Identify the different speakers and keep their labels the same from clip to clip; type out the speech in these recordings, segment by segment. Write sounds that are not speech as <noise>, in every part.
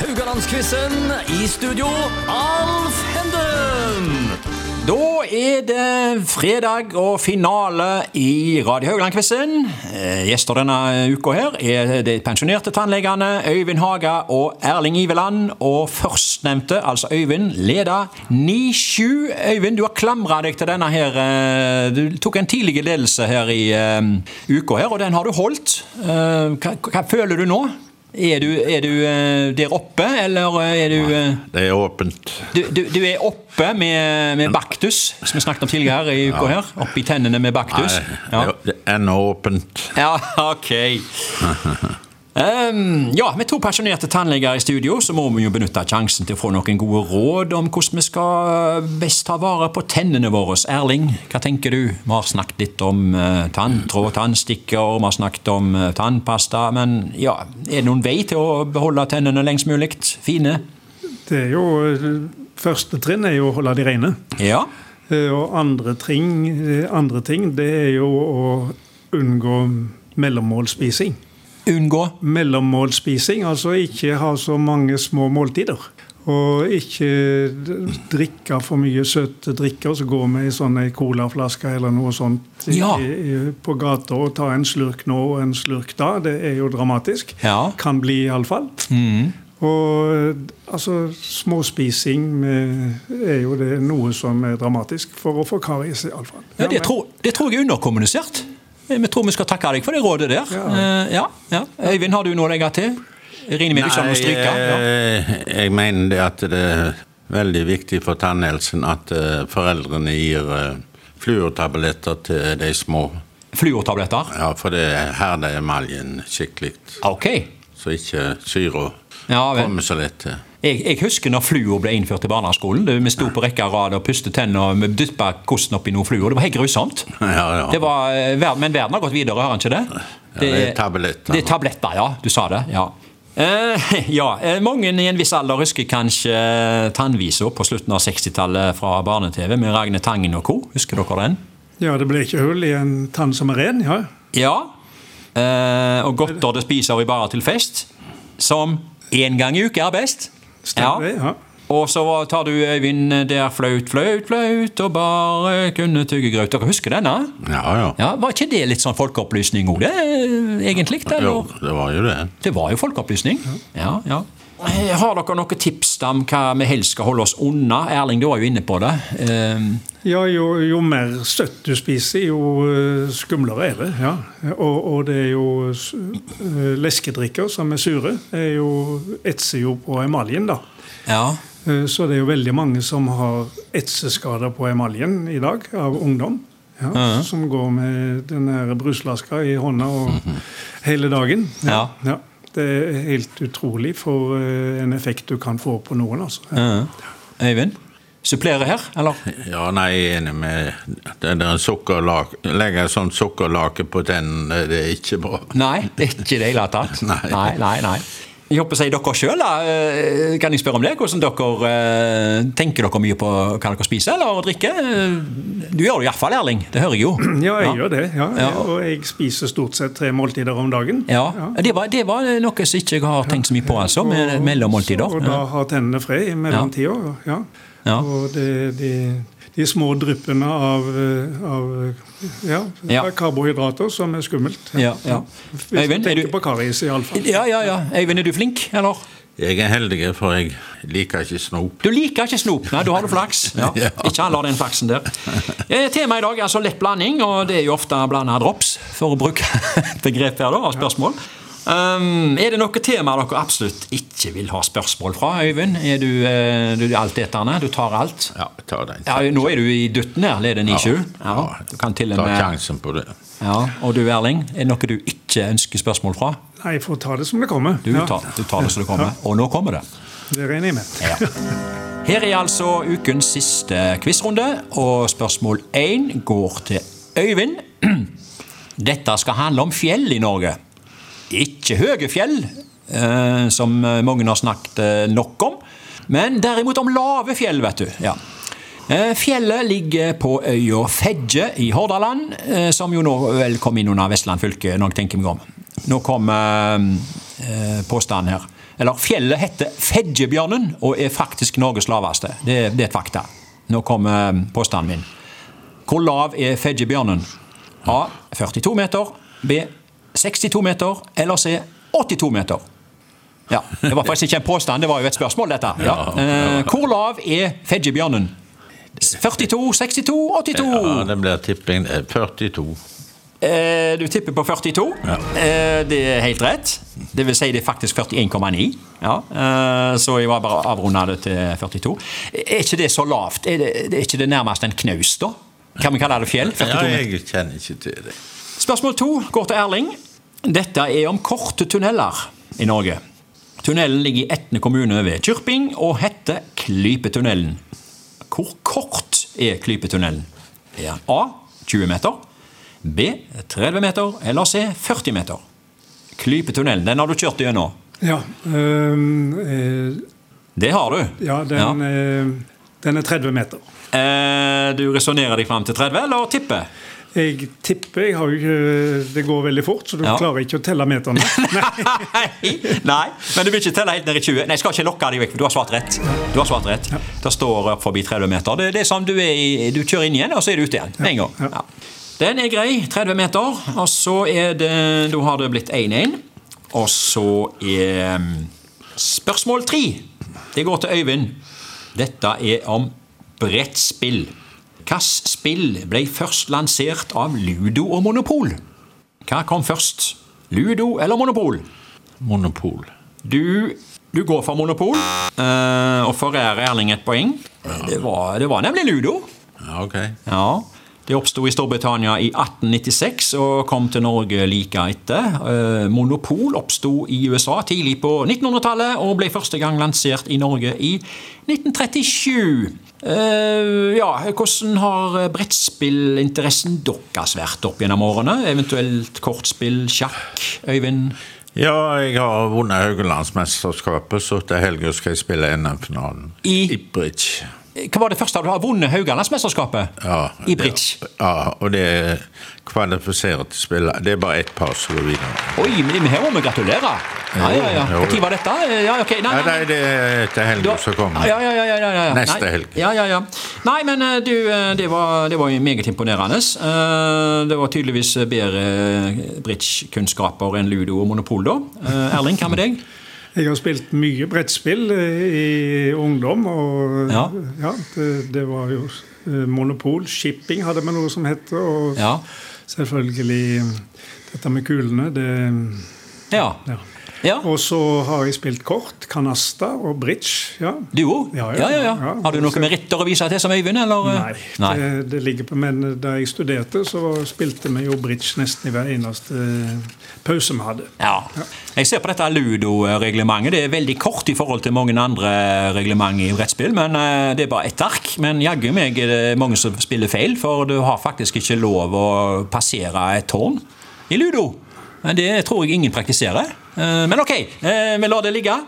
Speaker 1: Rogalandsquizen i studio, Alf Henden!
Speaker 2: Da er det fredag og finale i Radio Haugland-quizen. Eh, Gjester denne uka her er de pensjonerte tannlegene Øyvind Haga og Erling Iveland. Og førstnevnte, altså Øyvind, leder 9-7. Øyvind, du har klamra deg til denne her. eh, Du tok en tidlig ledelse her i eh, uka her, og den har du holdt. Eh, Hva, hva føler du nå? Er du, er du eh, der oppe, eller er du eh,
Speaker 3: Det er åpent.
Speaker 2: du, du, du er oppe med, med baktus, som vi snakket om tidligere i uka her. Oppe i tennene med baktus.
Speaker 3: Nei,
Speaker 2: Ja,
Speaker 3: det er ennå åpent.
Speaker 2: ja ok. Um, ja, med to pensjonerte tannleger i studio, så må vi jo benytte sjansen til å få noen gode råd om hvordan vi skal best ta vare på tennene våre. Erling, hva tenker du? Vi har snakket litt om eh, tanntråd, tannstikker, vi har snakket om eh, tannpasta. Men ja, er det noen vei til å beholde tennene lengst mulig? Fine?
Speaker 4: Det er jo, eh, første trinn er jo å holde de rene.
Speaker 2: Ja.
Speaker 4: Eh, Og andre ting, eh, andre ting det er jo å unngå mellommålspising.
Speaker 2: Unngå
Speaker 4: Mellommålspising, altså ikke ha så mange små måltider. Og ikke d- drikke for mye søte drikker, så gå med ei sånn ei colaflaske eller noe sånt i-
Speaker 2: Ja.
Speaker 4: i- på gata og ta en slurk nå og en slurk da. Det er jo dramatisk.
Speaker 2: Ja. Mm.
Speaker 4: Kan bli, iallfall. Og eh, altså, småspising eh, er jo det noe som er dramatisk for å få karies, iallfall.
Speaker 2: Ja, det, tror, det tror jeg er underkommunisert. Vi tror vi skal takke deg for det rådet der. Eh, ja, ja. Øyvind, har du noe å legge til? Jeg regner med du ikke har noe å stryke? Ja.
Speaker 3: eh, jeg mener det at det er veldig viktig for tannhelsen at eh, foreldrene gir eh, fluortabletter til de små.
Speaker 2: Fluortabletter?
Speaker 3: Ja, for det herder emaljen skikkelig,
Speaker 2: Ok.
Speaker 3: så ikke syra
Speaker 2: Ja, vel.
Speaker 3: kommer så lett til. <laughs>
Speaker 2: Jeg, jeg husker når fluor ble innført i barneskolen. Det- Vi sto på rekke og rad og pustet tennene og dyppa kosten oppi noe fluor. Det var helt grusomt.
Speaker 3: Ja, ja.
Speaker 2: Det var, eh, ver- men verden har gått videre, har den ikke det?
Speaker 3: det er tabletter.
Speaker 2: Det er tabletter, ja. Du sa det. ja. Eh, <laughs> ja, eh, Mange i en viss alder husker kanskje eh, tannvisa på slutten av 60-tallet fra barne-TV med Ragne Tangen og co. Husker dere den?
Speaker 4: Ja, det ble ikke hull i en tann som er ren, ja.
Speaker 2: Ja. Eh, og godter det spiser vi bare til fest, som én gang i uke er best.
Speaker 4: Stemmer det, ja.
Speaker 2: Og så tar du Øyvind eh, der flaut, flaut, flaut, og bare kunne tygge grøt. Dere husker denne?
Speaker 3: Ja, ja.
Speaker 2: Ja, Var ikke det litt sånn folkeopplysning òg, det, eh, egentlig? eller?
Speaker 3: Jo, det var jo det.
Speaker 2: Det var jo folkeopplysning. Ja, ja. Eh, Har dere noen tips da om hva vi helst skal holde oss unna? Erling, du var jo inne på det. Ehm,
Speaker 4: Ja, jo, jo mer søtt du spiser, jo eh, skumlere er det. ja. Og, og det er jo s- eh, leskedrikker som er sure, er jo, etser jo på emaljen, da.
Speaker 2: Ja.
Speaker 4: Eh, Så det er jo veldig mange som har etseskader på emaljen i dag, av ungdom. Ja, Som går med den her bruslaska i hånda <laughs> og hele dagen.
Speaker 2: Ja.
Speaker 4: Ja. Det er helt utrolig for eh, en effekt du kan få på noen. altså. Ja.
Speaker 2: Eh, Øyvind? Supplere her, eller?
Speaker 3: Ja, nei, jeg er enig med det der sukkerlake. Legge sånn sukkerlake på tennene, det er ikke bra.
Speaker 2: Nei, det er ikke det i det hele tatt.
Speaker 3: Nei.
Speaker 2: <laughs> nei, nei, nei. Jeg håper å si dere sjøl, da. Eh, Kan jeg spørre om det? Hvordan dere eh, Tenker dere mye på hva dere spiser eller drikker? Eh, Du gjør det iallfall, Erling. Det hører jeg jo.
Speaker 4: Ja, jeg gjør det. Ja.
Speaker 2: Ja.
Speaker 4: Og jeg spiser stort sett tre måltider om dagen.
Speaker 2: <clears throat> Ja, Det, var, det var noe som ikke jeg har tenkt så mye på, altså, med mellommåltider.
Speaker 4: Og da har tennene fred i mellomtida. Ja.
Speaker 2: Ja.
Speaker 4: Og det, de, de små dryppene av, eh, av ja,
Speaker 2: Ja.
Speaker 4: karbohydrater som er skummelt.
Speaker 2: Ja, ja.
Speaker 4: Hvis
Speaker 2: Øyvind,
Speaker 4: du
Speaker 2: er
Speaker 4: tenker
Speaker 2: du-
Speaker 4: på karies, iallfall.
Speaker 2: Ja, ja, ja. Øyvind, er du flink, eller?
Speaker 3: Jeg er heldig, for jeg liker ikke snop.
Speaker 2: Du liker ikke snop. Nei, da har du flaks. Ja.
Speaker 3: Ja.
Speaker 2: Ikke alle har den flaksen der. Eh, Temaet i dag er altså lett blanding, og det er jo ofte blanda drops, for å bruke <laughs> et begrep her, da, av spørsmål. Um, er det noe tema dere absolutt ikke vil ha spørsmål fra, Øyvind? Er du, eh, du er altetende? Du tar alt?
Speaker 3: Ja, ta den.
Speaker 2: Ja, nå er du i dytten her, leder 97. Ja, du kan til og
Speaker 3: Ta
Speaker 2: med
Speaker 3: sjansen på det.
Speaker 2: ja. Og du, Erling, er det noe du ikke ønsker spørsmål fra?
Speaker 4: Nei, jeg får ta det som det kommer.
Speaker 2: Du
Speaker 4: Ja,
Speaker 2: tar, du tar det som det kommer. Og nå kommer det.
Speaker 4: det regner jeg med.
Speaker 2: Ja. Her er altså ukens siste quizrunde, og spørsmål én går til Øyvind. <clears throat> Dette skal handle om fjell i Norge. Ikke høye fjell, eh, som mange har snakket eh, nok om, men derimot om lave fjell, vet du. Ja. Eh, Fjellet ligger på øya Fedje i Hordaland, eh, som jo nå vel kom inn under Vestland fylke, når jeg tenker meg om. Nå kom eh, eh, påstanden her. Eller fjellet heter Fedjebjørnen og er faktisk Norges laveste. Det, er- det er et fakta. Nå kommer eh, påstanden min. Hvor lav er Fedjebjørnen? A. 42 meter. B. 62 meter. Eller C. 82 meter. Ja, Det var faktisk ikke en påstand, det var jo et spørsmål, dette. Ja. Eh, hvor lav er Fedjebjørnen? 42, 62, 82?
Speaker 3: Ja, det blir tipping eh, 42.
Speaker 2: Eh, du tipper på 42. Eh, det er helt rett. Det vil si det er faktisk 41,9. Ja. Eh, så jeg var bare avrunda det til 42. Er ikke det så lavt? Er det, er ikke det nærmest en knaus, da? Kan vi kalle det fjell? 42
Speaker 3: Ja,
Speaker 2: meter.
Speaker 3: jeg kjenner ikke til det.
Speaker 2: Spørsmål to går til Erling. Dette er om korte tunneler i Norge. Tunnelen ligger i Etne kommune ved Kyrping og heter Klypetunnelen. Hvor kort er Klypetunnelen? Er den A 20 meter, B 30 meter eller C 40 meter? Klypetunnelen, den har du kjørt gjennom.
Speaker 4: Ja, øhm, eh,
Speaker 2: Det har du.
Speaker 4: ja, den, eh, den er 30 meter.
Speaker 2: Eh, Du resonnerer deg fram til 30, eller tipper?
Speaker 4: Jeg tipper jeg har jo, ikke- Det går veldig fort, så du
Speaker 2: Ja.
Speaker 4: klarer ikke å telle
Speaker 2: <laughs>
Speaker 4: meterne.
Speaker 2: Nei, nei, men du vil ikke telle helt ned i 20. Nei, jeg skal ikke lokke deg vekk, for du har svart rett. Du har svart rett. Det står opp forbi 30 meter. Det, det er som du, er i, du kjører inn igjen, og så er du ute igjen med en gang. Ja. Den er grei, 30 meter, og så er det Da har det blitt 1-1. Og så er mm, spørsmål tre. Det går til Øyvind. Dette er om brettspill. Hvilket spill ble først lansert av Ludo og Monopol? Hva kom først? Ludo eller Monopol?
Speaker 3: Monopol.
Speaker 2: Du, du går for monopol, eh, og forærer Erling et poeng. Det var, det var nemlig ludo.
Speaker 3: Ja, ok.
Speaker 2: Ja, Det oppsto i Storbritannia i 1896 og kom til Norge like etter. Eh, monopol oppsto i USA tidlig på 1900-tallet og ble første gang lansert i Norge i 1937. Eh, ja, Hvordan har brettspillinteressen deres vært opp gjennom årene? Eventuelt kortspill, sjakk, Øyvind?
Speaker 3: Ja, jeg har vunnet Haugalandsmesterskapet, så til helga skal jeg spille NM-finalen.
Speaker 2: I-
Speaker 3: bridge.
Speaker 2: Hva var det første du har vunnet Haugalandsmesterskapet?
Speaker 3: Ja,
Speaker 2: I
Speaker 3: det-
Speaker 2: bridge.
Speaker 3: Ja, og det er kvalifiserte spillere. Det er bare ett par som går videre.
Speaker 2: Oi, men her må vi gratulere! Ja, ja, ja.
Speaker 3: Jo, jo.
Speaker 2: Når var dette? Eh, Ja, ok, nei,
Speaker 3: Nei,
Speaker 2: nei,
Speaker 3: nei, det er til
Speaker 2: Du
Speaker 3: helga
Speaker 2: har-
Speaker 3: som kommer.
Speaker 2: Ja, ja, ja, ja, ja, ja.
Speaker 3: Neste
Speaker 2: Nei.
Speaker 3: helg.
Speaker 2: Ja, ja, ja. Nei, men eh, du, eh, det var, det var jo meget imponerende. Eh, Det var tydeligvis bedre eh, bridge-kunnskaper enn ludo og monopol, da. Eh, Erling, hva med deg?
Speaker 4: Jeg har spilt mye brettspill eh, i ungdom, og
Speaker 2: Ja.
Speaker 4: ja, det, det var jo eh, monopol. Shipping hadde vi noe som het, og
Speaker 2: Ja.
Speaker 4: selvfølgelig dette med kulene. Det,
Speaker 2: Ja.
Speaker 4: ja.
Speaker 2: ja.
Speaker 4: Og så har jeg spilt kort, kanasta og bridge. ja.
Speaker 2: Du òg?
Speaker 4: Ja, ja,
Speaker 2: Ja, ja, ja.
Speaker 4: ja.
Speaker 2: Har du noe meritter å vise til som Øyvind, eller? eh?
Speaker 4: Nei, Det, det ligger på, men da jeg studerte, så spilte vi jo bridge nesten i hver eneste pause vi hadde.
Speaker 2: Ja. Jeg ser på dette Ludo-reglementet. Det er veldig kort i forhold til mange andre reglement i brettspill. men eh, Det er bare ett ark. Men jaggu meg er det mange som spiller feil, for du har faktisk ikke lov å passere et tårn i Ludo. Men Det tror jeg ingen praktiserer. Eh, Men ok, eh, vi lar det ligge.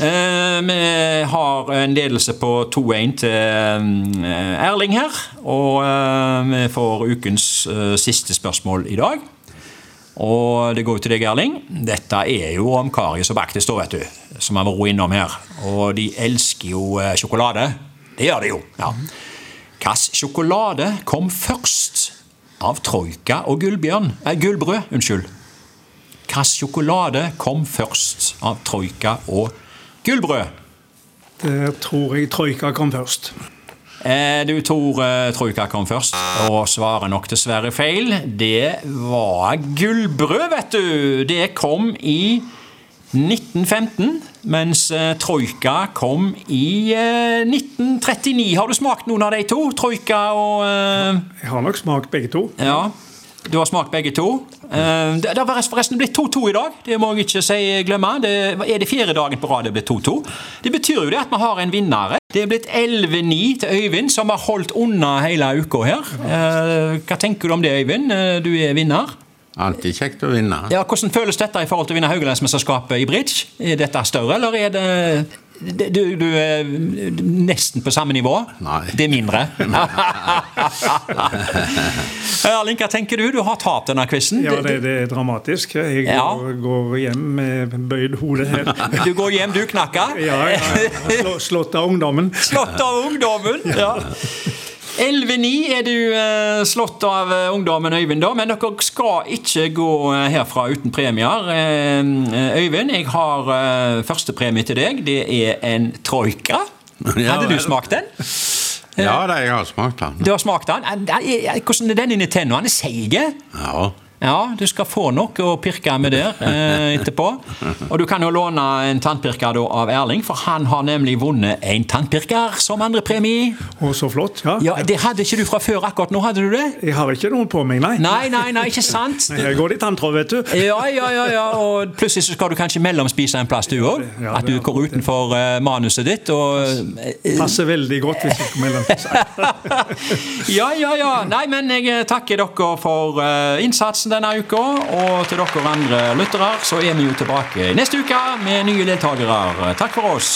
Speaker 2: Eh, Vi har en ledelse på 2-1 til eh, Erling her. Og eh, vi får ukens eh, siste spørsmål i dag. Og det går jo til deg, Erling. Dette er jo om Karius og Baktus, da, vet du. Som har vært innom her. Og de elsker jo eh, sjokolade. Det gjør de jo. ja. Hvilken sjokolade kom først av Troika og Gullbjørn? Eh, Gullbrød, unnskyld. Hvilken sjokolade kom først av Troika og Gullbrød?
Speaker 4: Der Eh, tror jeg troika kom først.
Speaker 2: Eh, Du, Tor eh, Troika kom først, og svarer nok dessverre feil. Det var gullbrød, vet du! Det kom i 1915, mens eh, Troika kom i eh, 1939. Har du smakt noen av de to? Troika og eh,
Speaker 4: Jeg har nok smakt begge to.
Speaker 2: Ja. Du har smakt begge to. Eh, Det det har forresten blitt 2-2 i dag. Det må jeg ikke si glemme. Det er det fjerde dagen på rad det er blitt 2-2. Det betyr jo det at vi har en vinner. Det er blitt 11-9 til Øyvind, som har holdt unna hele uka her. Eh, Hva tenker du om det, Øyvind? Eh, Du er vinner.
Speaker 3: Alltid kjekt å vinne.
Speaker 2: Ja, Hvordan føles dette i forhold til å vinne Haugalandsmesterskapet i bridge? Er dette større, eller er det det- Du, du er nesten på samme nivå.
Speaker 3: Nei.
Speaker 2: Det er mindre. Erling, hva tenker du? Du har tapt denne quizen.
Speaker 4: Ja, det, det er dramatisk. Jeg
Speaker 2: Ja.
Speaker 4: går, går hjem med bøyd hode <laughs> her.
Speaker 2: Du går hjem, du knakker.
Speaker 4: Ja, ja, ja. Slå- Slått av ungdommen.
Speaker 2: Slått av ungdommen. Ja. 11-9 er du eh, slått av eh, ungdommen, Øyvind, da. Men dere skal ikke gå eh, herfra uten premier. Eh, eh, Øyvind, jeg har eh, førstepremie til deg. Det er en troika.
Speaker 3: Ja
Speaker 2: Hadde du
Speaker 3: vel.
Speaker 2: smakt den?
Speaker 3: Ja, det, jeg har smakt den.
Speaker 2: Du har smakt den? Eh, nei, eh, Hvordan er den i Nintendo? Han er seig.
Speaker 3: Ja.
Speaker 2: Ja, du skal få noe å pirke med der eh, etterpå. Og du kan jo låne en tannpirker da av Erling, for han har nemlig vunnet en tannpirker som andrepremie.
Speaker 4: Og så flott. Ja.
Speaker 2: Ja, det hadde ikke du fra før akkurat nå, hadde du det?
Speaker 4: Jeg har ikke noen på meg, nei.
Speaker 2: Nei, nei, nei, ikke sant?
Speaker 4: Her går det i tanntråd, vet du.
Speaker 2: Ja, ja, ja, ja, og plutselig så skal du kanskje mellomspise en plass du òg.
Speaker 4: Ja,
Speaker 2: At du
Speaker 4: det er
Speaker 2: går utenfor eh, manuset ditt og eh,
Speaker 4: Passer veldig godt hvis jeg skal melde
Speaker 2: Ja, ja, ja. Nei, men jeg eh, takker dere for eh, innsatsen denne uka. Og til dere andre lyttere så er vi jo tilbake neste uke med nye deltakere. Takk for oss.